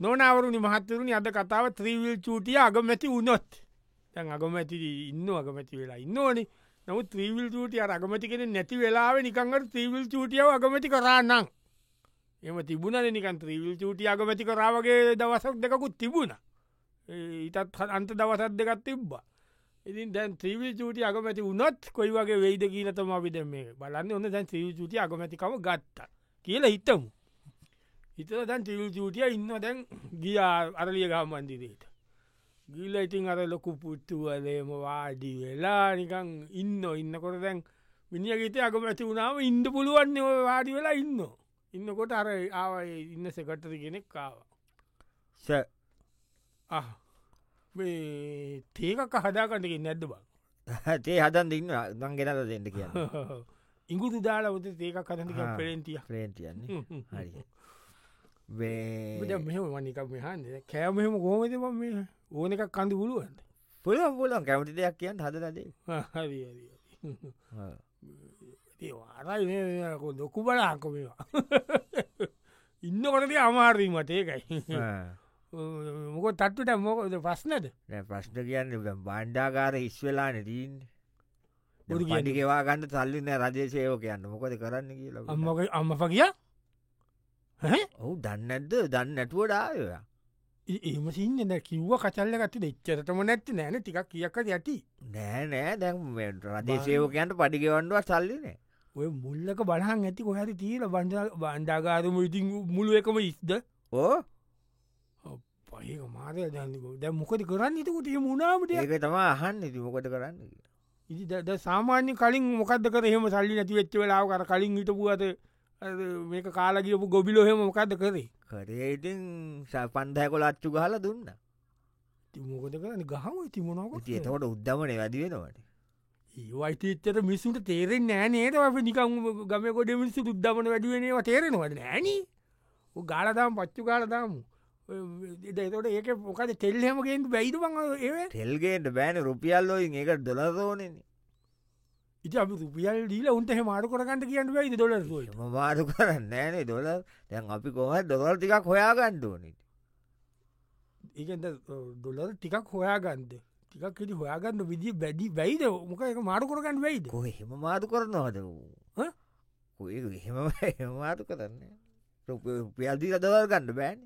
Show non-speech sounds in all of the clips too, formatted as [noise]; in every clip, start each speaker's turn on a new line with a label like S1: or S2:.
S1: නොනවරුණි මහත්තරුණි අද කතාව ත්‍රීවිල් චූටිය අගමැති වුණොත් තැන් අගමැති ඉන්න අගමැති වෙලා ඉන්න ඕනි නමුත් ත්‍රීවිල් චූටිය අගමති කෙන නැති වෙලාව නිකංගට ත්‍රීවිල් චූටිය අගමති කරන්නම් එම තිබුණන නිකන් ත්‍රීවිල් චූටිය අගමැති කරාවගේ දවසක් දෙකුත් තිබුණ ඉතත් අන්ත දවසත් දෙකත් තිබ්බා ඉතින් දැන් ත්‍රීවිල් චූටි අගමැති වුණොත් කොයි වගේ වෙයිද කියීනතම අපිට මේ බලන්න ඔන්න දැන් ත්‍රීවිල් චූටි අගමැතිකම ගත්තා කියලා හිතමු හිතල දැන් ත්‍රීවිල් චූටිය ඉන්න දැන් ගියා අරලිය ගාමන්දිරයට ගිල ඉතින් අර ලොකු පුට්ටුවලේම වාඩි වෙලා නිකං ඉන්න ඉන්නකොට දැන් මිනිියගේත අගමැති වුණාව ඉන්ඩ පුළුවන් ඔය වාඩි වෙලා ඉන්න ඉන්නකොට අර ආව ඉන්න සෙකටරි කෙනෙක් කාවා අහ. මේ තේකක් හදාකටකින් නැද්ද [laughs] බං
S2: තේ හදන් ඉන්න දං ගෙනල දෙට කිය
S1: ඉංගුරු දාලා ොත තේකක් කතක
S2: ආ.
S1: පෙරෙන්ටිය
S2: ්‍රේන්ටයන්නේ හරි
S1: මෙම වනිකක් මෙහන් කෑමහෙම කොහමද මම මේ ඕන එකක් කඳු පුළුවන්ද
S2: පුළන් පුලන් කැමති දෙයක් කියන්න හදලදේ
S1: හරි හරි, හරි. ඒ අරයි මේ මේ කො- ලොකු බලාකො මේවා ඉන්න කොටද අමාරී මට ඒකයි මොක තත්වට මොකද පස්නද
S2: ප්‍රශ්න කියන්න බණ්ඩාකාර ඉස්වෙලාන දීන්
S1: බොරු කියන්නේ.
S2: ගිවා ගන්න සල්ලින්න රජේෂයෝ කියන්න මොකද කරන්න කියලා
S1: අම්මක අම්මප කියා
S2: ඔහු දන්නඇද දන්න නැටුවඩාය
S1: එම සින්න ද කිව්ව කචල්ල ගත්ත දෙච්චරටම නැත්ති නෑන ටික් කියක්ක ඇති
S2: නෑ නෑ දැන් රදේශයෝකයන්ට පඩිගවන්ඩුව සල්ලින
S1: ඔය මුල්ලක බලහන් ඇති කොහැරි තීර බන්ඩ බණ්ඩාගාරම ඉතින් මුළුව එකම ඉස්ද
S2: ඕ
S1: පහක මාරය දැන්නක දැ මොකද කරන්න ඉතකුට මුණාමට
S2: ඒක තමා අහන්න ඉති මොකට කරන්න කියලා.
S1: ඉ සාමාන්‍ය කලින් මොකද කර එහෙම සල්ලි නැති වෙච්ච වෙලාව කර කලින් හිටපුුවත මේ කාලාගියපු ගොබිලොහෙම මොකද කරේ
S2: කරේ ඉතින් ස පන්දය කොල අච්චු හල දුන්න
S1: ඉතින් මොකද කරන්න ගහම ඉති මොනකොට
S2: ඉති එතකොට උද්දමන වැදි වෙනවට
S1: ඒවයිතච්චට මිසුට තේරෙන් නෑ නේද අප නිකම් ගම ගොඩ මිනිස්සු උද්දමන වැඩුවනවා තේරෙනවට නෑන ගාලදාම් පච්චු කාලදාම එතට ඒක මොකද තෙල්හෙමගේෙන් බැයිතු බං ඒ
S2: තෙල්ගේට බෑන රුපියල්ලෝයින් ඒකට දොලදෝනන
S1: ඉති අපි රුපියල් දීල උන්ටහ මාරු කරගන්නට කියන්න බයි දොල ට
S2: එම මාරු කරන්න නෑනේ දොල දැන් අපි කොහ දොල් ටිකක් හොයාගණ්ඩුවනට
S1: ඒකද ඩොලර් ටිකක් හොයාගන්ද ටිකක් හිටි හොයාගන්න විදි බැඩි බැයිද මොක එක මාරු කරගන්න වෙයිද
S2: කොහ එහෙම මාතු කරනවාද
S1: ඈ?
S2: එහෙම [laughs] හෙමමාතු කරන්න රුපියල්දී දවල් ගන්න බෑන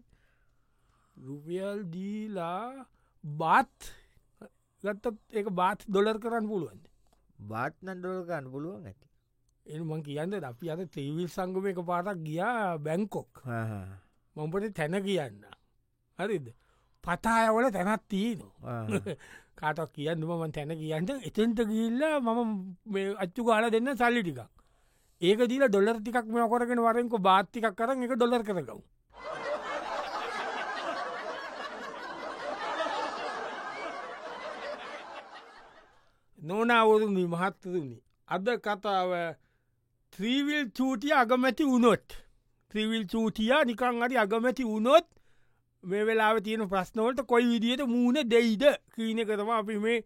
S1: රුපියල් දීලා බාත් ගත්තත් ඒ බාත් දොලර් කරන්න පුළුවන්ද
S2: බාත්නන් දොල ගන්න පුළුවන් ඇති
S1: එමන් කියන්න අපි අද තේවිල් සංගම එක පාටක් ගියා බැංකොක් මොම්පට තැන කියන්න හරිද පතායවල තැනත් තියනවා කාටක් කියන්න මම තැන කියන්න එතන්ට ගිල්ල මම මේ අච්චු කාල දෙන්න සල්ලි ටිකක් ඒක දීල ඩොල්ලර් ටිකක් මෙ කරගෙන වරෙන්ක බාත්තිකක් කරන එක ඩොල්ලර් කරකව නොනවරුණි මහත්තරුණි අද කතාව ත්‍රීවිල් චූටිය අගමැති වුණොත් ත්‍රීවිල් චූටිය නිකං අරි අගමැති වුණොත් මේ වෙලා තියෙන ප්‍රශ්නවලට කොයි විදියට මූුණ දෙයිද කීන කරම අපි මේ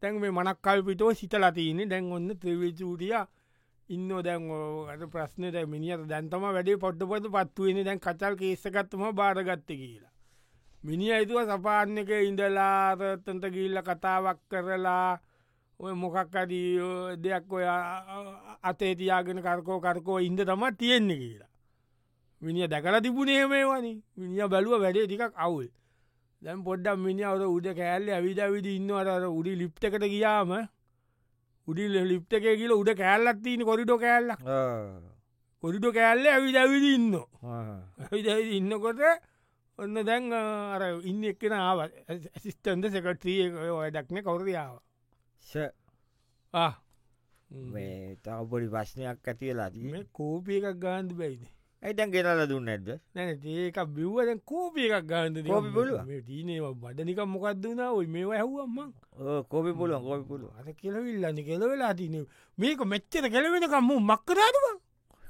S1: තැන් මේ මනක් කල්පිටෝ සිතලතියන දැන් ඔන්න ත්‍රවිචූටිය ඉන්න දැන් අට ප්‍රශ්නයට මිනිියට දැන්තම වැඩේ පොට්ටපොත පත්තුවෙන දැන් කචල් කේසකත්තම බාරගත්ත කියලා. මිනි අයිතුව සපාන්නක ඉඳලා තන්ට ගිල්ල කතාවක් කරලා ඔය මොකක්කදී දෙයක් ඔය අතේ තියාගෙන කරකෝ කරකෝ ඉන්ද තම තියෙන්නේ කියලා. මිනිිය දැකල තිබුණේ මේවානි මිනිිය බැලුව වැඩේ ටිකක් අවුල් දැම් පොඩ්ඩම් මිනිියවර උඩ කෑල්ල ඇවිද විදි ඉන්නවර උඩි ලිප්ටකට ගියාම උඩි ලිප්ට එක කියල උඩ කෑල්ලත්තින කොරිඩෝ කෑල්ල කොරිඩ කෑල්ල ඇවිද ඇවිදි ඉන්න ඇවිදවිදි ඉන්නකොට ඔන්න දැන් අර ඉන්න එක්කෙන ආව ඇසිස්ටන්ද සකට්‍රිය ඔය දක්න කවරයාව
S2: මේ තවපොඩි ප්‍රශ්නයක් ඇතිවෙලාදී
S1: කෝපය එකක් ගාන්ධ බැයිද
S2: ඇයිතන් ගෙනල දුන්න ඇද
S1: නැන ඒක බිව්වද කෝපය එකක් ගාන්ද
S2: කෝපි පුළුවන්.
S1: දීනේ බඩනික මොකක්දනා ඔයි මේ ඇහුවම්මක්
S2: කෝපි පුළුවන් කෝපි පුළුව
S1: අර කෙලවිල්ලන්න කෙලවෙලා තින මේක මෙච්චර කෙලවෙනකම්ම මක්කරාටම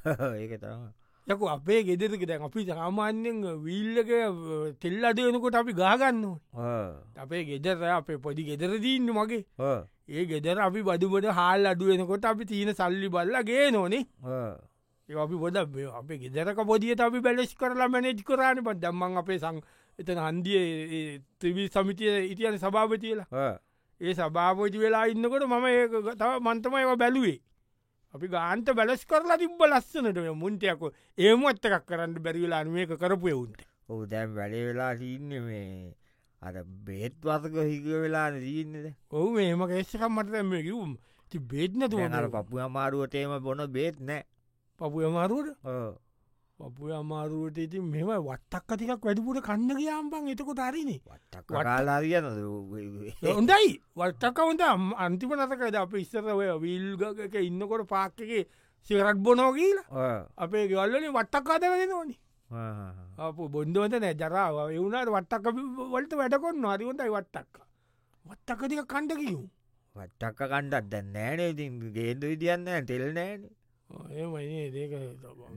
S2: [laughs] ඒක තම
S1: යකු අපේ ගෙදෙක දැන් අපි සාමාන්‍යෙන් විල්ලක තෙල් අදයනකොට අපි ගාගන්න ඕන අපේ ගෙදර අපේ පොඩි ගෙදර දීන්න මගේ ඒ ගෙදර අපි බඩුබඩ හාල් අඩුවෙනකොට අපි තියෙන සල්ලි බල්ලගේ නොනේ ඒ අපි බොඩ අපේ ගෙදරක පොදිිය අපි බැලෙස් කරලා මැනෙච් කරන්න පත් දම්මන් අපේ සං එතන හන්දිය ත්‍රවිල් සමිතිය ඉතියන සභාපතියලා ඒ සභාපති වෙලා ඉන්නකොට මම ඒ තව මන්තමයක බැලුවේ අපි ගාන්ත බැලස් කරලා තිබ්බ ලස්සනට මේ මුන්ටයක ඒමත් එකක් කරන්න බැරිවෙලා අනුවක කරපු එවුන්ට
S2: ඔහු දැම් වැඩේ වෙලා තිීන්න මේ අර බේත් වසක හික වෙලා දීන්නද
S1: ඔහු මේම කේෂකම් මට දැම කිවුම් ති බේත්නතු
S2: තුවනර පපු අමාරුවටේම බොන බේත් නෑ
S1: පපුය මාරුවට
S2: ඕ.
S1: පපුය අමාරුවට ඉතින් මෙම වත්තක් අතිකක් වැඩිපුට කන්න ගයාම්පන් එතකොට අරිනේ
S2: වට්ටක්
S1: වට-
S2: කාලා තියන
S1: හොඳයි වල්ටකවන්ට අන්තිම නතකද අප ඉස්සරවය විල්ගක ඉන්නකොට පාක්කගේ සිරට් බොනෝගීලා අපේ ගවල්ලන වට්ටක්කාදවෙන ඕනි අප බොන්ධවත නෑ ජරාව එවුණට වට්ටක් වලට වැඩකොන්න අරිවොටයි වට්ටක් වත්තකතික කණ්ඩ කිව්
S2: වට්ටක්ක කණ්ඩත් දැන් නෑනේ ඉතින් ගේද විදියන්න තෙල් නෑන
S1: ඒමයිඒ දේක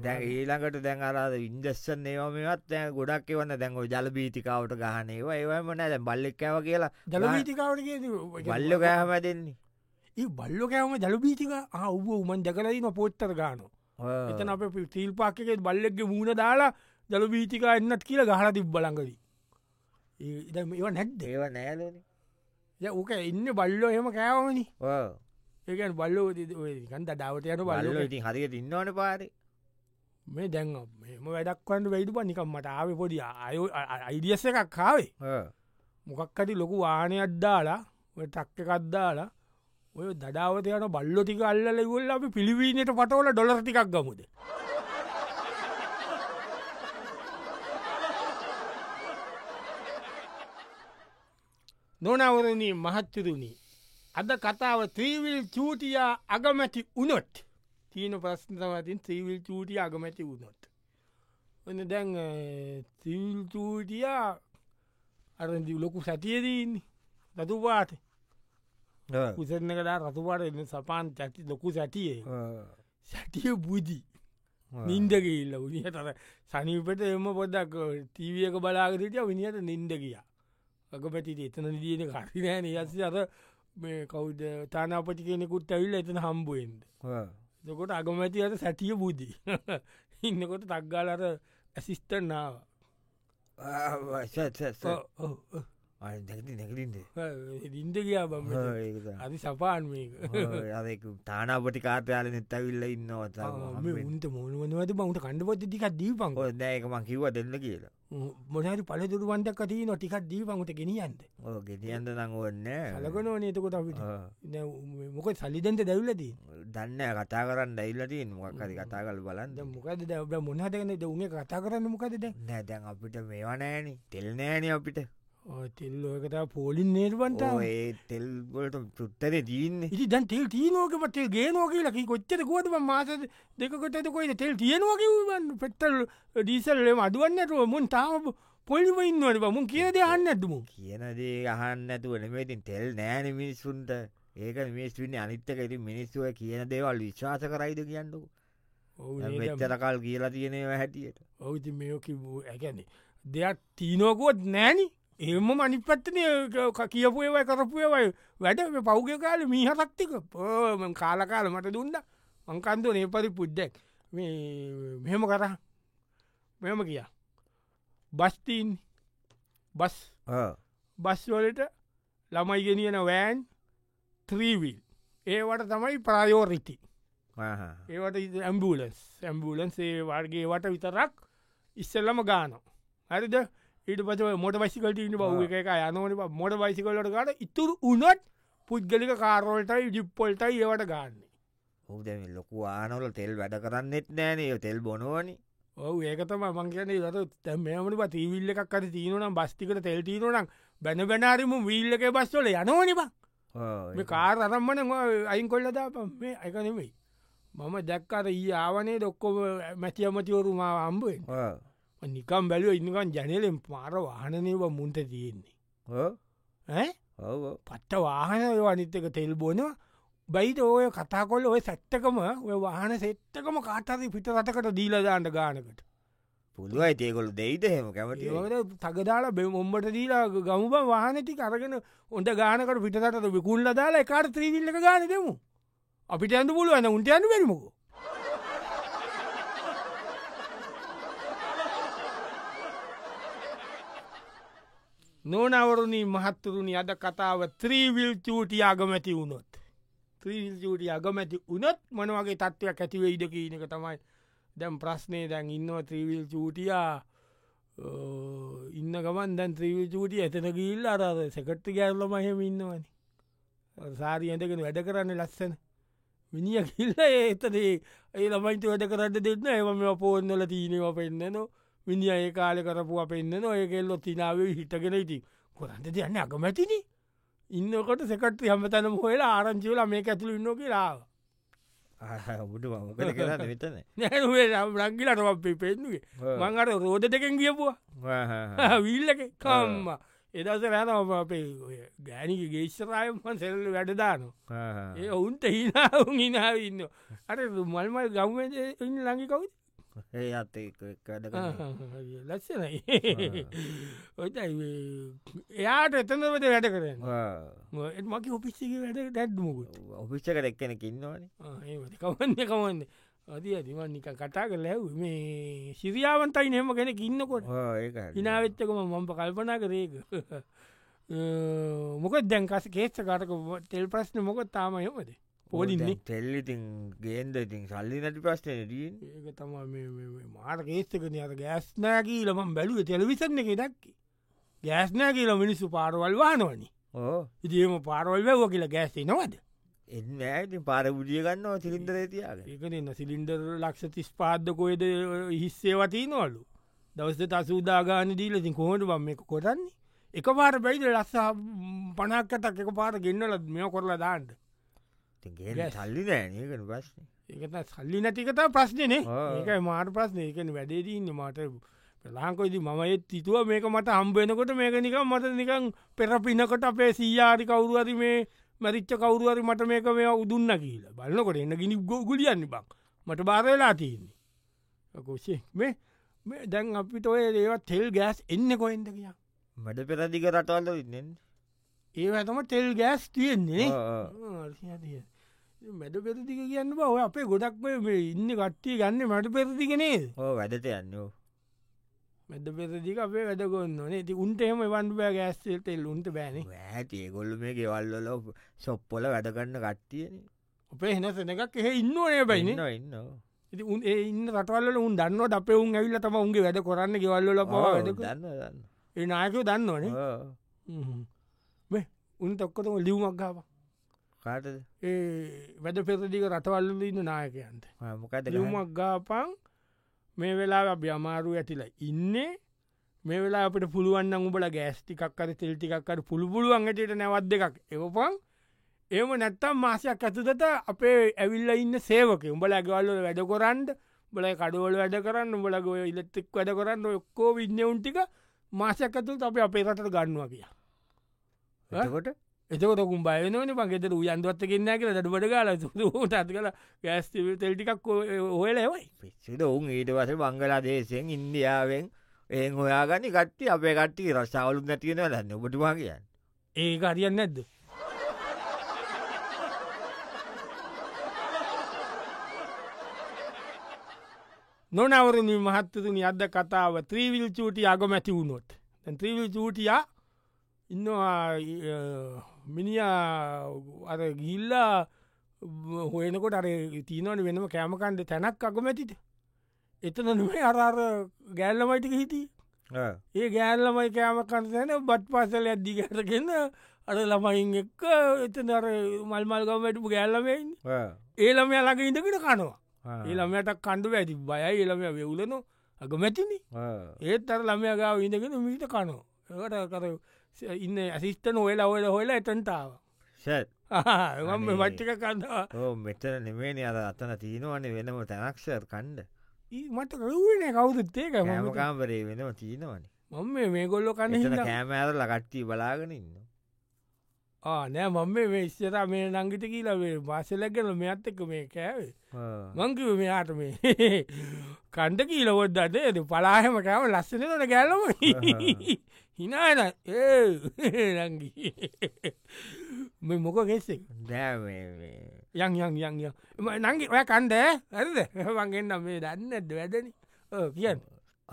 S2: දැන් ඊළඟට දැන් අරාද ඉන්දස්සන් ඒවමත් දැ ගොඩක් එවන්න දැන් ඔය ජල බීතිකාවට ගහනේවා ඒවම නෑ දැ බල්ලෙක්කෑව කියලා
S1: ජලබීතිකාවට
S2: බල්ලො කෑහම දෙන්නේ
S1: ඒ බල්ලො කෑම ජලබීතික අව්ව උමන් දැකලදින පොත්තර ගාන
S2: ඔය.
S1: එතන අප තීල් පාක්කෙත් බල්ලෙක්ගේ මූුණ දාලා ජලබීතික එන්නත් කියලා ගහල තිබ් බලඟදී ඒ ඒව නැද්ද
S2: ඒව නෑලන
S1: ඕක එන්න බල්ලෝ හෙම කෑවමනි ඒකන් බල්ලෝ ගන්ට ඩාවට යන
S2: බල්ලෝ
S1: බල්ලෝ
S2: ඉතින් හරියට ඉන්නවන පාරි
S1: මේ දැන් මෙම වැඩක්වන්ට වැඩු පනිකම් මට ආව පොඩි අයෝ අයිඩියස එකක් කාවේ මොකක්කටි ලොකු වානය අද්දාලා ටක්ක කද්දාලා ඔය දඩාවතයන බල්ලො ටික අල්ල ගොල්ල අපි පිළිවීනයට පටවල ඩොලර ටිකක් ගමුද නොනවරණී මහත්තරුණී අද කතාව ත්‍රීවිල් චූටියා අගමැති උනොත් තියන ප්‍රශ්නතමතින් ත්‍රීවිල් චූටිය අගමැති වුණොත් ඔන්න දැන් තිවිල් චූටියා අරදි ලොකු සැතියදන්න රතුපාට උසරන කලා රතුපාට එන්න සපාන් චැති ලොකු සැටියේ සැටිය බුදි
S2: Ah.
S1: නින්දගේල්ල විනිහතර සනිපට එම පොඩක් තීවියක බලාගරටිය විනිහට නින්ද ගියා අක පැටිට එතන දිියන කරිනෑන යස අර මේ කෞද තානාපටි කෙනෙකුත් ඇවිල්ල එතන හම්බුවෙන්ද දකොට අගමැති අට සැටිය [laughs] බුදි ඉන්නකොට තක්ගාලර ඇසිස්ටනාව oh,
S2: නැති නැකරින්ද
S1: ඉින්ද ගියා බම අරි සපාන් මේක
S2: තානාපටි කාර්යාල නැත්තවිල්ල ඉන්නවත
S1: උන්ට මොනුවනවද බවට කණ්ඩපොත් ටිකක් දීපං
S2: දැක මං කිව දෙන්න කියලා
S1: මොනහරි පලදුරුවන්ටක් කතින ටිකක් දීපංට ගෙනියන්ද
S2: ඕ ගෙටියන්ද නංගුවන්න
S1: හලකන නතකොට අපිට නෑ, උ- මොක සල්ලිදන්ට දැවල්ලදී
S2: දන්න කතා කරන්න ඉල්ලටීන් මොක්කරි කතා කල් බලන්ද
S1: මොකද දැ මොනහදකන උනේ කතා කරන්න මොකද දැ
S2: නෑ දැන් අපිට මේවනෑන තෙල් නෑන අපිට
S1: තෙල්ලෝකත පෝලින් නේර්වන්ට
S2: ඕ ඒ තෙල්වලට පුත්තර දීන්නේ
S1: ඉති දැන් තෙල් තියනෝකමටේ ගේනෝ කියලකි කොච්චර ගුවටම මාස දෙකකොටත කොයිද තෙල් තියනවාකිවන්න පෙත්තල් ඩීසල්ලම අදුවන්නටුව මුන් තාම පොලිම ඉන්නවට මුන් කියද අන්න ඇතුමු
S2: කියන දේ අහන්න ඇතුව නෙමේතින් තෙල් නෑන මිනිස්සුන්ට ඒක මිස්ටන්න අනිත්තක ඇති මිනිස්සුව කියන දේවල් විශ්වාස කරයිද කියන්නු මෙච්චරකල් කියලා තියනවා හැටියට
S1: ඔවුති මේෝකිවූ ඇගැන දෙයක් තිීනෝකුවත් නෑනි එම මනිපත්තන කියපු ඒවයි කරපු ඒවයි වැඩ පෞග කාල මීහතක්තික පෝමන් කාලකාල මට දුන්න අංකන්ද නේපරි පුද්දැක් මේ මෙහෙම කර මෙම කියා බස්තීන් බස් බස්වලට ළමයිගෙනියන වෑන් ත්‍රීවිල් ඒවට තමයි ප්‍රයෝරිටි ඒවට ඇම්බූලන්ස් ඇම්බූලන්ස් ඒ වර්ගේ වට විතරක් ඉස්සල්ලම ගානෝ හරිද ඊට පස මොට වයිසිකට ඉන්න බව එක යනෝන මොට වයිසිකලට ගට ඉතුරු උනොත් පුද්ගලික කාරෝල්ටයි ජිප්පොල්ටයි ඒවට ගාන්නේ
S2: හුද ලොකු ආනොල තෙල් වැඩ කරන්නෙත් නෑන ඒ තෙල් බොනුවනි
S1: ඔව ඒකතම මංකනේ දත මෙමට පතිවිල්ල එකක් අට තිීනනම් බස්තිකට තෙල්ටීනනම් බැන බැනාරිම විල්ල එක බස්වල යනෝනිබ මේ කාර අරම්මන අයින් කොල්ලදාපම් මේ එකනෙවෙයි මම දැක්කාර ඒ ආවනේ දොක්කොම මැතියමතිවරු මා අම්බුවෙන් නිකම් බැලුව ඉන්නකන් ජනලෙන් පාර වාහනනව මුන්ට තියෙන්නේ ඈ?
S2: ඔව
S1: පට්ට වාහන ඔය අනිත්තක තෙල් බොනවා බයිට ඔය කතා කොල්ල ඔය සැත්තකම ඔය වාහන සෙත්තකම කාටරි පිට රටකට දීලදාන්න ගානකට
S2: පුළුවයි තේකොල් දෙයිද හෙම කැමති
S1: ඒවට තගදාලා බෙ ඔම්බට දීලා ගමුබ වාහනටි කරගෙන ඔොට ගානකට පිටට විකුල්ල දාලා එකාර ත්‍රීවිල්ලක ගාන දෙමු අපිට ඇඳ පුළුව ඇන උන්ට අන්න වෙනමකෝ නොනවරුණී මහත්තුරුණි අද කතාව ත්‍රීවිල් චූටි අගමැති වුණොත්. ත්‍රීවිල් චූටි අගමැති උනොත් මනවගේ තත්ත්වයක් ඇතිවේ ඉඩ කියීනක තමයි දැම් ප්‍රශ්නය දැන් ඉන්නව ත්‍රීවිල් චූටියා ඉන්න ගමන් දැන් ත්‍රීවිල් චූටිය ඇතන ගිල්ල අරද සෙකට්ටි ගැල්ලම හෙම ඉන්නවනි. සාරී ඇඳකෙන වැඩ කරන්න ලස්සන. මිනිිය කිල්ල ඒතදේ ඒ ළමයින්ට වැඩ කරන්න දෙන්න ඒම මෙ පෝන්නල තිීනව පෙන්න්නනවා. මිනි ඒ කාල කරපු අපෙන්න්න නොය කෙල්ලො තිනාව හිටගෙන ඉති කොරන්ට දෙයන්න අකමැතිනි ඉන්නකොට සෙකට හමතන හොලා ආරංචිවල මේ ඇතුළ ඉන්න කියලාව
S2: බුඩ මකට කරන්න
S1: [laughs]
S2: විතන
S1: නැේ රංගිලටම පෙන්නුවේ මංගට රෝධ දෙකෙන් [laughs] කියපුවා විල්ලක කම්ම එදස රෑතම අපේ ගෑනික ගේේශ්රයම්මන් සෙල්ල වැඩදානු ඒ ඔවුන්ට හිනාවුන් හිනාව ඉන්න අර මල්මල් ගම්ම ඉන්න ලඟි කවුද
S2: ඒ අත් කඩ
S1: [laughs] ලස්සන [laughs] ඔයි එයාට එතනවට වැඩ කරන මක ඔපිස්සික වැඩ දැඩ්මුකුත්
S2: ඔපිච්චක දෙක්කෙන කින්නවන
S1: කවන්න කවන්න අති ඇතිවන් නික කටා කර ලැව් මේ සිරියාවන්තයි නෙම කෙන කින්නකොට හිනාවෙච්චකම මම කල්පනා කරේක මොක දැන්කස කේච්ච කරක තෙල් ප්‍රශ්න මොක තාම යමද පොලින්නේ
S2: තෙල්ලිතින් ගේන්ද ඉතින් සල්ලි නැටි ප්‍රශ්නය දී
S1: ඒක තම මාට ගේස්තකන අර ගෑස්නෑ කියීලම බැලුව තෙලවිසන්න එක දක්කි ගෑස්නෑ කියල මිනිස්සු පාරවල් වානවනි
S2: ඕ
S1: ඉදිම පාරවල් වැව කියලා ගෑස්සේ නොවද
S2: එන්න ඇති පාර බුදිය ගන්නවා සිලින්දර තියාග
S1: ඒකන සිලින්ඩර් ලක්ෂ තිස් පාද්දකොයද හිස්සේ වතිී නොවලු දවස්ත තසූදාගාන දීලතින් කොහොට බම් එක කොටන්නේ එක පාර බැයිද ලස්සා පනක්කටක් එක පාර ගෙන්න්නල මෙය කොරලා දාන්නට
S2: ගේ සල්ලි නෑනකන ප්‍රශ්න
S1: ඒකත සල්ලි නැතිකත ප්‍රශ්නයනේ ඒකයි මාට ප්‍රශ්නය එකන වැඩේදීන්න මට ප්‍රලාංකොයිති මම ඒත් තිතුව මේක මට හම්බෙනකොට මේක නිකම් මට නිකං පෙරපිනකොට අපේ සීයාරි කවුරුවරි මේ මැරිච්ච කවරුවරි මට මේක මේ උදුන්න කියීල බලන්නකොට එන්න ගිනි ගොගුලියන්න බක් මට බාරවෙලා තියන්නේ කොෂේ මේ මේ දැන් අපිට ඔය ඒවා තෙල් ගෑස් එන්න කොහෙන්ද කියා
S2: මට පෙරදික රටවල්ල ඉන්නෙන්
S1: ඒ ඇතම තෙල් ගෑස් තියෙන්නේ තිය මැඩ පෙරදික කියන්න ඔය අපේ ගොඩක් ඉන්න කට්ටිය ගන්න මට පෙරදිගෙනේ
S2: ඕ වැඩට යන්න
S1: මැද පෙරදික අපේ වැඩගොන්න ති උන්ටේම වන්ඩුබෑ ගෑස්තේ තෙල් උන්ට බෑන
S2: ඇතිය ගොල්ල මේ ගෙවල්ලල සොප්පොල වැඩගන්න කට්ටියන
S1: අපේ හෙන සෙනකක් එහ ඉන්නවනය බයින
S2: ඉන්න
S1: ඉති උන් ඒ ඉන්න රටවල්ල උන් දන්නවට අපේ උන් ඇවිල්ල තම උන්ගේ වැඩ කොරන්න ගෙවල්ල පවා වැඩ
S2: දන්න දන්න
S1: ඒ නායකෝ දන්නවනේ මේ උන් තොක්කොතම ලියවමක් ගාව
S2: කාට
S1: ඒ වැඩ පෙරදික රටවල්ල ඉන්න නායකයන්ට
S2: මොකද
S1: ලියවමක් ගාපං මේ වෙලා අපි අමාරු ඇතිලා ඉන්නේ මේ වෙලා අපට පුළුවන් උඹල ගෑස්ටිකක්කර තෙල්ටිකක්කට පුළපුලුවන් ඇටට නැවත් දෙකක් එවපං ඒම නැත්තම් මාසයක් ඇතුදට අපේ ඇවිල්ල ඉන්න සේවක උඹල ඇගවල්ල වැඩ කොරන්ඩ බල කඩුවල වැඩ කරන්න උඹල ගොය ඉලෙත්තෙක් වැඩ කරන්න ඔක්කෝ වින්නවුන්ටික මාසයක් ඇතුත් අප අපේ රට ගන්නවා කියා
S2: එතකොට
S1: එතකොට කුම්බයන පගෙත යන්දුවත් කෙන්න කියල දඩුවට ගල ටත් කල ගෑස්තිවල් තෙල්ටිකක් ඔහල එවයි
S2: පිස්සුට ඔවුන් ඊට වස බංගලා දේශයෙන් ඉන්දියාවෙන් ඒ හොයාගනි කට්ටි අපේ කට්ටි රසවලු නැතිෙන දන්න ඔබටවා කියන්න
S1: ඒ අරියන්න නැද්ද නොනවරණ මහත්තතුනි අද කතාව ත්‍රීවිල් චූටි අගමැති වුණොත් ත්‍රීවිල් චූටියා ඉන්නවා මිනිිය අර ගිල්ලා හොයනකොට අර තිීනවන වෙනම කෑමකන්ඩ තැනක් අකමැතිට එතන නුවේ අරාර ගෑල්ලමයිටික හිටි ඒ ගෑල්ලමයි කෑමකන් තැන බත් පාසල ඇද්දි ගැටගෙන අර ළමයින් එක්ක එත අර මල්මල්ගමටපු ගෑල්ලමයින් ඒළම යාලක ඉඳකට කනවා ඒළමයටක් කණ්ඩු ඇති බයයි ඒළමය වෙවුලනො අකමැතිනි ඒත් අර ළමයගාව ඉඳගෙන මීට කනවා ඒකට කර ඉන්න ඇසිස්ට නොවෙල ඔල හොල එතන්ටාව එම මට්ටික කන්නවා
S2: මෙතන නෙමේන අද අතන තියෙනවන්නේ වෙනම තැනක්ෂර් කණ්ඩ
S1: මට කරුවන කවුදුත්තේක මම
S2: මකාම්පරේ වෙනම තියෙනවනේ
S1: මේ මේ ගොල්ලො කන්න
S2: එතන කෑමෑර ලකට්ටී බලාගෙන ඉන්න
S1: නෑ මම මේ ස්තර මේ නංගිට කියීලවේ බාසලැගෙන මෙත් එක්ක මේ කෑවේ මංකිව මෙයාට මේ [laughs] කණ්ඩ කියීලවොත් අද ඇද පලාහෙම කෑව ලස්සනට [laughs] ගැලම හිනාන ඒ [laughs] නංගි [laughs] මේ මොක කෙස්සෙක්
S2: දෑ
S1: යං යං යං [laughs] යම් නංගි ඔය කණ්ඩ ඇද වගෙන්න්න මේ දන්න ඇද වැදන කියන්න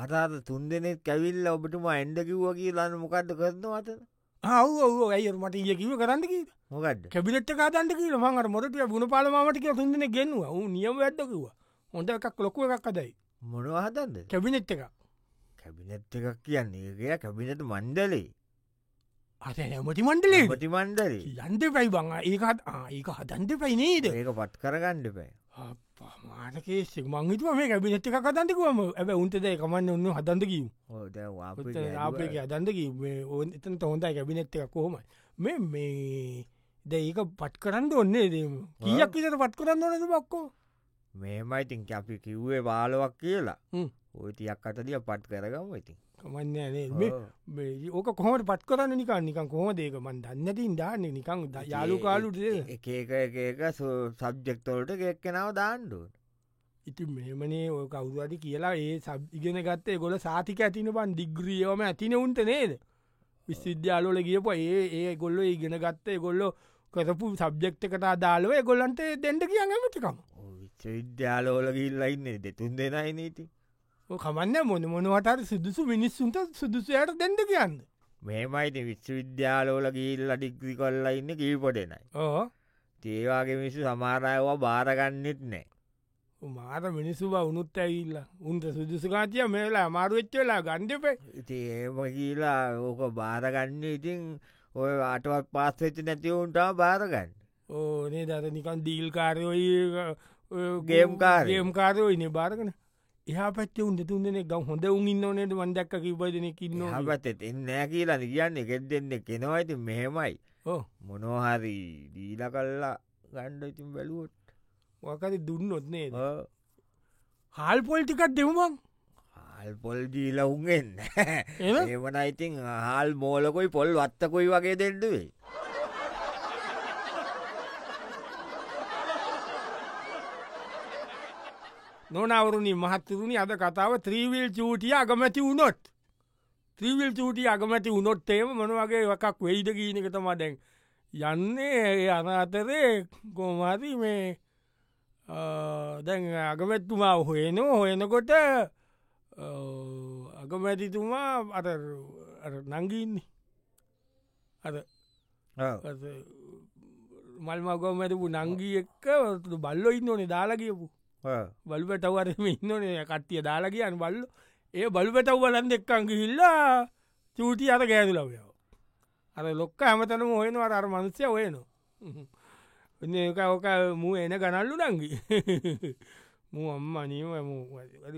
S2: අතාත තුන් දෙනෙත් කැවිල්ල ඔබටම ඇන්ඩ කිව්වා කියලාන්න මොකක්ද කරනවා අතන
S1: හව් ඔව ඇය මට ඒ කිව කරන්න කිය
S2: මොකක්ද
S1: කැබිට කාතන්ට කියල මඟට මොරටය ගුණ පාලමටක තුන්දෙන ගෙන්වා ූ නියම ඇදකිවා හොඳ එකක් ලොකුව එකක් අදයි
S2: මොනවා හතන්ද
S1: කැබිනෙට් එක
S2: කැබිනැට් එකක් කියන්නේ ඒකය කැබිනට මණ්ඩලේ
S1: අත හැමති මණ්ඩලේ
S2: ප්‍රතිමන්ඩලේ
S1: යන්ද පැයි බං ඒකත් ඒක හදන්ට පැයිනේද
S2: ඒක පත් කරගණ්ඩ පැ
S1: මානකේ මංගතුව මේ කැබිනෙට් එක කතන්තිකුවම ඇබ උන්තද කමන්න ඔන්න හදන්ද කිව් ආපේක අදන්ද ඔන් එතන හොඳයි කැබිනෙට් එක කොහොමයි මේ මේ ද ඒක පට් කරන්න ඔන්නේ ද කියක් විට පත් කරන්න ඕනද බක්කෝ
S2: මේමයිතින් අපි කිව්වේ බාලවක් කියලා
S1: හ්ම්.
S2: ඔයිතියක් අතදිය පට් කරගම ඉතින්
S1: කමන්න නේ මේ
S2: ඔව්.
S1: මේ ඕක කොහට පත් කරන්න නිකන් නිකන් කොහොම දේක මන් දන්නතින් දාන්න නිකං යාලු කාලුට
S2: එක එක එක එක සබ්ජෙක්තවලට එකක්කෙනාව දාණ්ඩුවට
S1: ඉති මෙමනේ ඔය කවුරුවද කියලා ඒ සබ් ඉගෙන ගත්තේ ගොල සාතික ඇතින පන් දිග්‍රියෝම ඇතින උන්ට නේද විශ්විද්‍යාලෝල ගියප ඒ ඒ ගොල්ලො ඉගෙන ගත්තේ ගොල්ලො කරපු සබ්ජෙක්් එකට අදාලව ගොල්ලන්ට දෙන්ඩ කියන්නමතිකම
S2: විශ්වවිද්‍යාලෝල ගිල්ලයින්නේ දෙතුන් දෙනයි නීති
S1: කමන්න මොන මොනවටට සුදුසු මිනිස්සුන්ට සුදුසයට දෙන්ඩ කියන්න
S2: මේමයිති විශ්වවිද්‍යාලෝල ගිල්ල ඩික්්‍රි කොල්ලා ඉන්න කීපටෙනයි
S1: ඕ
S2: ඒවාගේ මිසු සමාරයවා බාරගන්නෙත් නෑ
S1: මාර මිනිස්සු වුනුත් ඇවිල්ල උන්ට සුදුසුකාතිය මේලා අමාරුවච්චවෙලා ගණ්ඩපේ
S2: ඉති ඒම කියලා ඕක බාරගන්න ඉතින් ඔය අටවත් පාස්සවෙච්ච නැතිවුන්ටා බාරගන්න
S1: ඕනේ දර නිකන් දීල්කාරයෝයි
S2: ගේම්කාරයෝ.
S1: ගේම්කාරයෝයින බාරගන එහ පත් උන්ට තුන්දෙන ගම් හොඳ උන්න්න නේට වන්දක්ක කිපදන කින්න
S2: හපතෙත් එන්නෑ කියලා කියන්න එකෙත් දෙන්න කෙනවයිති මෙහෙමයි
S1: ඕ
S2: මොනෝහරි දීල කල්ලා ගණ්ඩ ඉතින් බැලුවොත්
S1: වකද දුන්නොත්නේ
S2: ඔව්.
S1: හල් පොල්ටිකත් දෙවමක්
S2: හාල් පොල් දීල උන්ගෙන්
S1: එහෙම?
S2: ඒවන ඉතින් හාල් මෝලකොයි පොල් වත්තකොයි වගේ දෙෙන්ඩුවේ
S1: නොනවරුණි මහත්තරුණි අද කතාව ත්‍රීවිල් චූටිය අගමැති වුණොත් ත්‍රීවිල් චූටිය අගමැති වුණොත්තේම මොන වගේ වකක් වෙයිද ගීනකට මඩැන් යන්නේ ඒ අන අතරේ කෝමති මේ අ, දැන් අගමැත්තුමා හොයනෝ හොයනකොට අ, අගමැතිතුමා අර අර නංගින්නේ අර අර මල් මගොමැතිපු නංගී එක්ක බල්ලො ඉන්න ඕනේ දාලා කියපු බලුවටවරම ඉන්නනේ කට්ටිය දාලා කියන්න බල්ල ඒ බලුවටව්වලන් දෙක්කන් ගිහිල්ලා චූටි අර ගෑදුලවයෝ අර ලොක්ක ඇමතන හොයනවා අර මනුස්්‍යය ඔයනො එක ඕක මූ එන ගනල්ලු නංගි මූ අම්ම නීම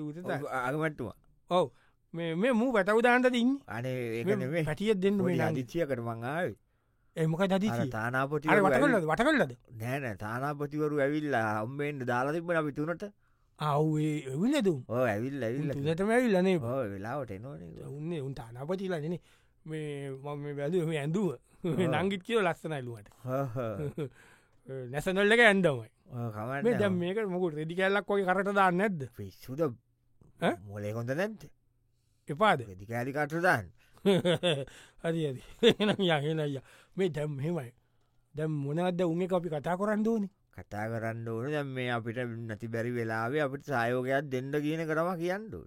S1: උත
S2: අගමට්ටුව
S1: ඔව මේ මූ වැටවදාන්ට දින්න
S2: අනේ ඒකනේ
S1: පැටියත් දෙන්න
S2: දිච්චියකට මංආවේ
S1: එමක දති
S2: තානාපොටි
S1: අර වටකල්ලද වටකල්ලද
S2: නෑන තානාපතිවරු ඇවිල්ලා හම්බෙන්ට දාලතිබන අපි තුනට
S1: අව්ේ විලදුම්
S2: ඕ ඇවිල් ඇවිල්ල
S1: තුනටම ඇවිල්ලනේ
S2: ඕ වෙලාවට එනෝන
S1: උන්න උන්ට අනපතිලනන මේ මම වැැලුව මේ ඇඳුව නංගිත් කියව ලස්සනයිලුවට නැසනල්ලක ඇන්ඩමයි මේ දැම්
S2: කමට
S1: මේක මොකුට රෙඩි කැල්ලක් වගේ කරට දාන්න නැද්ද
S2: පිස්සුද
S1: ඈ?
S2: මොලේ කොට නැන්ත
S1: එපාද [laughs]
S2: ගෙදිකෑලි කටුදාන්
S1: හරි [laughs] ඇති එනම් යහෙන අය මේ දැම් හෙමයි දැම් මොනද උම අපි කතා කරන්න ඕනි
S2: කතා කරන්න ඕන දැම් මේ අපිට නැති බැරි වෙලාවේ අපට සයෝගයක් දෙන්න කියන කරම කියන්නඩු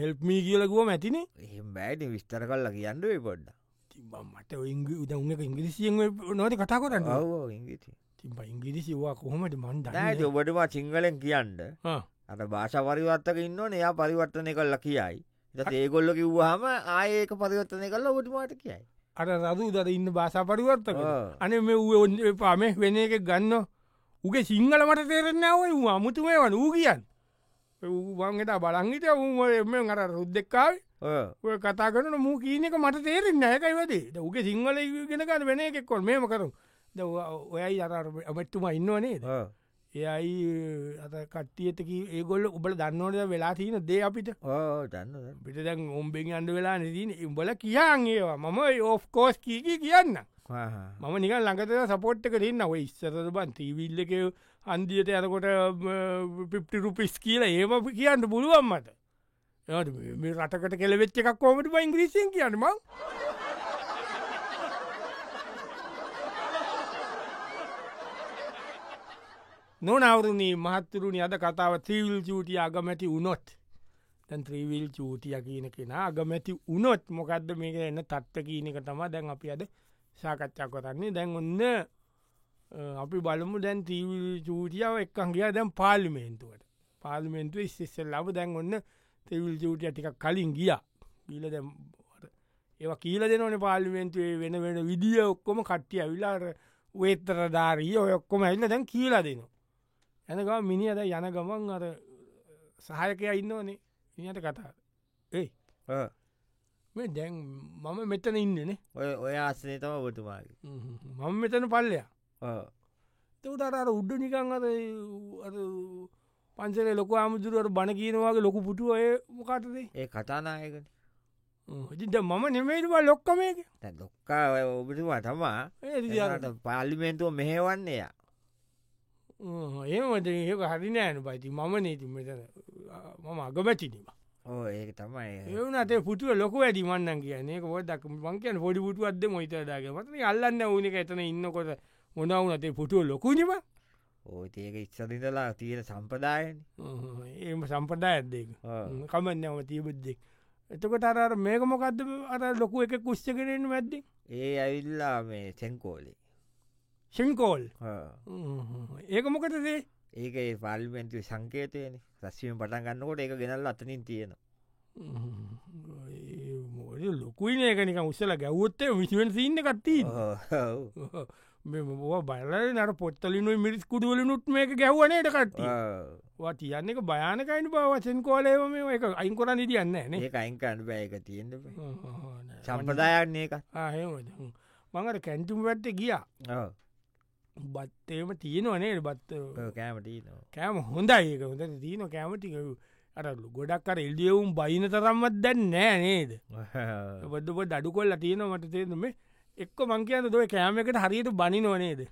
S1: හෙල්ප්මී කියලකුව මැතිනේ
S2: එහෙම බෑට විස්තර කල්ලා කියන්නඩ වේ පොඩ්ඩ
S1: තිබම් මට ඉංග උද උන්න ඉංග්‍රසියෙන් නොට කතා කරන්න
S2: ඔවෝ ඉංගිති
S1: තිබ ඉංගිරිසිවා කොහොමට මන්ද
S2: නෑ ඔබටම සිංහලෙන් කියන්න
S1: ආ.
S2: අට භාෂ පරිවත්තක ඉන්න එයා පරිවර්තනය කල්ලා කියයි එතත් ඒගොල්ල කිව්වාහම ආයක පරිවර්තනය කල්ලා ඔබටමාට කියයි
S1: අර රදු දර ඉන්න භාෂා පරිවර්තක
S2: ඔව්.
S1: අනේ මේ ඌ ඔන්න පාම වෙන එක ගන්න උගේ සිංහල මට තේරෙන්නාව ඌ අමුතුමේ වන ඌ කියන් ඌවන්ගට බලංගිට ඌම අර රුද්දෙක්කාව
S2: ඔව්.
S1: ඔය කතා කරන මූ කීනක මට තේරෙන් ඇකයි වදේ උගේ සිංහල ගෙනකන්න වෙන එකෙක් කොල් මේම කරු ද ඔයයි අර අමැත්තුම ඉන්නවනේ
S2: ඔව්.
S1: එයයි අත කට්ටියතක ඒගොල්ල උබල දන්නවට වෙලා තියෙන දේ අපිට
S2: ඔව්, දන්න දන්න.
S1: පිට දැන් ඔම්බෙන් අන්ඩ වෙලා නතින උඹල කියන් ඒවා මම ඔෆ් කෝස් කීකී කියන්න
S2: ආහා.
S1: මම නික ලඟත සපෝට් එක දෙන්න ඔය ඉස්සරද බන් තීවිල්ල එක අන්දියට යනකොට පිප්ටි රුපිස් කියලා ඒම කියන්න පුළුවන් මට එයාට මේ- මේ රටකට කෙලවෙච්ච එකක් කෝමට ඉංග්‍රීසියෙන් කියන්නම නොනවරුණී මහත්තුරුණි අද කතාව තීවිල් චූටිය අගමැති වුණොත් තැන් ත්‍රීවිල් චූතිය කියන කෙන අගමැති උනොත් මොකක්ද මේක එන්න තත්ත කියනක තමා දැන් අපි අද සාකච්ඡා කොතන්නේ දැන් ඔන්න අපි බලමු දැන් ත්‍රීවිල් චූතියාව එක්කන් කියා දැන් පාලිමේන්තුවට පාලිමෙන්තුව ස්සෙල් ලබ දැන් ඔන්න තෙවිල් චූටිය ටික කලින් ගිය ගීල දැම් ඒ කියීල දෙනන පාලිමෙන්තුවේ වෙන වෙන විදිිය ඔක්කොම කට්ටිය ඇවිලාර වේතරධාරී ඔය ඔක්කොම ඇල්ල දැන් කියලා දෙනවා ඇනක මිනි අද යන ගමන් අර සහයකය ඉන්නවනේ ඉනිට කතා ඒ මේ දැන් මම මෙතන ඉන්නනේ
S2: ඔය ඔය අස්සනේ තම බතුමාගේ
S1: මම මෙතන පල්ලයා තවට අර උඩ්ඩ නිකං අර පන්සල ලොක අමුදුරුවට බණ කියනවාගේ ලොකු පුටුව ඔය මොකටදේ
S2: ඒ කතානායකට
S1: ද මම නෙමේටවා ලොක්ක මේක
S2: ලොක්කා ඔබතුවා තමා ඒට පාලිමෙන්තුව මෙහෙවන්නේය
S1: ඒමට ඒක හරිනෑන පයිති මම නීති මෙතන මම අගමැතිනීම
S2: ඕ ඒක තමයි
S1: ඒවනට පුටුව ලොක වැඩි මන්න කියන්නේ ොදක් මංකයන පොඩි පුටුවත්ද මොයිතරදාගේ මතන අල්ලන්න ඕනක එතන ඉන්නකොට මොනවුනතේ පුටුව ලොකුණිම
S2: ඕඒක ඉක්සරිඳලා තියෙන සම්පදායන
S1: ඒම සම්පදා ඇත්දේක කමන්නම තියබද්දෙක් එතකට අර මේක මොකක්ද අර ලොකු එක කුෂ්ච කරෙන් වැද්දි
S2: ඒ ඇවිල්ලා මේ සැන්කෝලේ
S1: ශිංකෝල් ඒක මොකටදේ
S2: ඒක පාලිමෙන්තු සංකේතයන රස්වීම පටන් ගන්නකොට ඒක ගෙනල් අතනින් තියෙන
S1: ලොකුයින ඒකනික උසල ගැවත්තේ විශුවෙන් සින්න කත්තිී මෙවා බලල නර පොත්තලිනු මිරිස් කුඩුවලනුත් මේක ගැවනයට කට වට යන්නක භයනකයින පවසෙන් කෝලේව මේ එක අයින් කොරන්න ඉටියන්න න
S2: ඒ අයින්කන්න බෑක තියෙන සම්පදායන්නේ එක
S1: මඟට කැන්ටුම් වැත්ත ගියා බත්තේම තියෙනවනේ බත්
S2: කෑමට
S1: කෑම හොඳ ඒක හොඳ දීන කෑමටික අරලු ගොඩක් අර එල්ඩියවුම් බයින තරම්මත් දැන් නෑ නේද බද්දුබ අඩු කොල්ල තියෙනවට තේරන මේ එක්ක මංකයන්න දොයි කෑමකට හරියට බනි නොනේද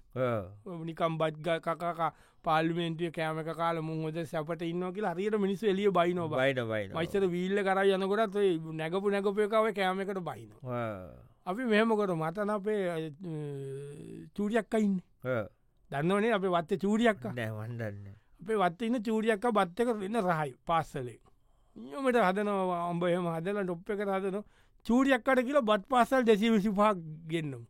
S1: නිකම් බද්ග කකාකා පාලිමෙන්ටිය කෑමක කාල මුහද සැපට ඉන්න කියලා හරියට මිනිස් එලිය බයින
S2: බයිට බයි
S1: මයිසර වීල්ල කර යනකොටත් නැගපු නැගපයකාව කෑමකට බයින අපි මෙහමකොට මතන අපේ චූරියක්කයින්න දන්නවනේ අප වත්ත චූරියක්ක
S2: නැවන්ඩන්න
S1: අපේ වත්ත ඉන්න චූරියක්ක බත්තක වෙන්න රහයි පාස්සලේ නියමට හදනවා අම්බයම හදලා ඩොප්ප එක හදනවා චූරියක්කට කියල බත් පාසල් දෙසී විසිපාක් ගෙන්නම්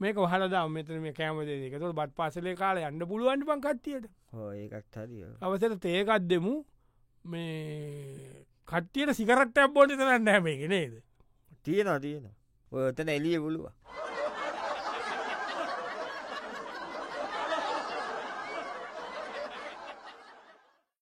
S1: මේක හලදා මෙතන මේ කෑමදක තුො බත් පාසලේ කාල යන්න පුළුවන්ට පන් කට්ටියට
S2: ඒකත් හරිය
S1: අවසට තේකත් දෙමු මේ කට්ටියට සිකරට ඇබ්බෝටි තරන්න හැමේගෙනේද
S2: තියෙන තියෙන ඔයතන එලිය පුළුව